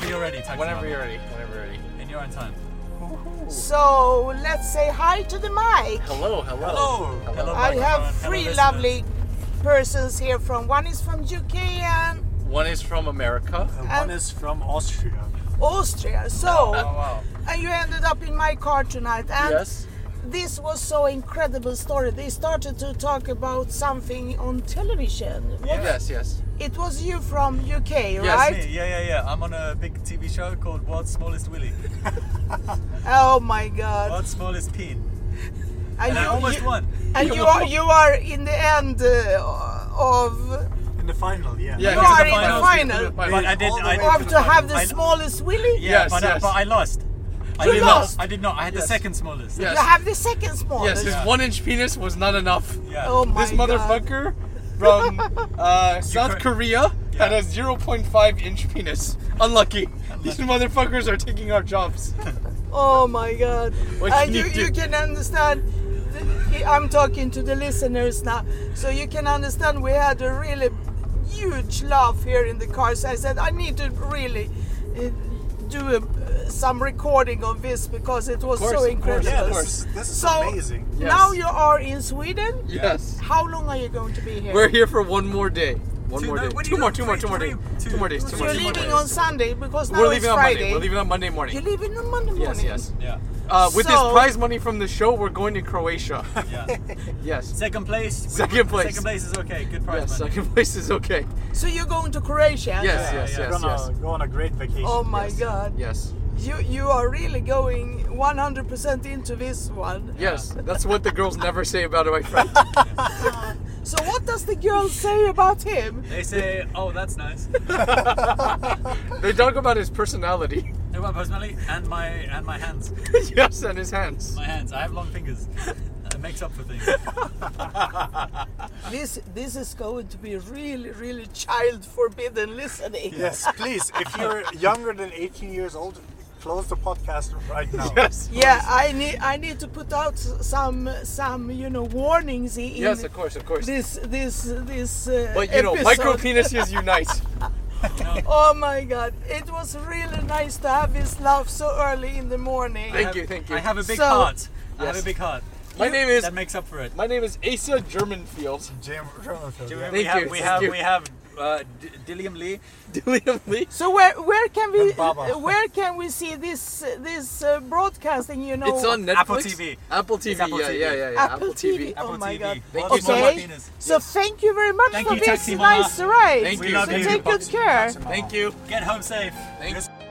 ready, text Whenever him you're ready. Whenever you're ready. up. in your own time. So let's say hi to the mic. Hello, hello. Hello. Hello. I have microphone. Hello, three listeners. lovely persons here from one is from UK and One is from America. Uh, Um, one is from Austria. Austria. So Oh wow. and you ended up in my car tonight and yes. this was so incredible story. They started to talk about something on television. Yes, yes. It was you from UK, Yes, right? Me, yeah, yeah, yeah. I'm on a big TV show called World's Smallest Willy, Oh my god. World's Smallest Peen, And and I almost you, won. and you are you are in the end uh, of In the final, yeah. Yeah, You he's are the in the finals. final. But But I I did. all the I way have to have the I- smallest willy. Yeah, Yes, but, yes. I, but I lost. I You did lost? Not, I did not. I had Yes. the second smallest. Yes. You have the second yes, smallest. his Yeah. one inch penis was not enough. Yeah. Oh my this motherfucker from uh, South Korea Yeah. had a 0.5 inch penis. Unlucky. These motherfuckers are taking our jobs. god. Oh my god. What and can you, you do? you can understand. the- I'm talking to the listeners now, so you can understand. We had a really huge laugh here in the cars. I said I need to really uh, do a, some recording of this because it was course, so of incredible. Yeah, this, this is So amazing. Yes. now you are in Sweden. Yes. How long are you going to be here? We're here for one more day. One Two- more no, day. what do Two you more, got? two more, Three, two more days. three, two. Two more days. Two So more You're days. Two more leaving days. on Sunday because now We're it's leaving on Friday. Monday. We're leaving on Monday morning. You're leaving on Monday morning. yes, yes. Yeah. Uh, with So- this prize money from the show, we're going to Croatia. Yeah. yes. Second place. we- Second place. Second place is okay. Good prize Yes, money. second place is okay. So you're going to Croatia? Yes, Yeah, yes, yeah. yes, We're gonna yes. go on a great vacation. Oh my Yes. God! Yes. You you are really going 100% into this one. Yes. That's what the girls never say about my friend. So what does the girl say about him? They say, oh, that's nice. They talk about his personality. No, my personality and my and my hands. yes, and his hands. My hands. I have long fingers. It makes up for things. This this is going to be really really child forbidden listening. Yes, please, if you're younger than 18 years old, close the podcast right now. Yes. Yeah, I need I need to put out some some you know warnings in Yes, of course, of course. this this this uh, But you know, episode. micro penises unite. Oh my god, it was really nice to have this laugh so early in the morning. Thank you, thank you. I have a big So- heart. I Yes. have a big heart. My name is That makes up for it. my name is Asa Germanfield. Jim, Romanfield, yeah. we Thank have you, we thank have you. we have uh, D- Dilliam Lee. Dilliam Lee. So where where can we And Baba. where can we see this this uh, broadcasting? You know, It's on Netflix. Apple TV. Apple TV. Apple yeah, TV. yeah, yeah, yeah. Apple, TV. Apple Oh my TV. god! Thank Well, you so much. okay, Martinez. so thank you very much Thank for you, this Taxi Mama. nice ride. Thank We you. love So you. take good care. Thank you. Get home safe. Thanks.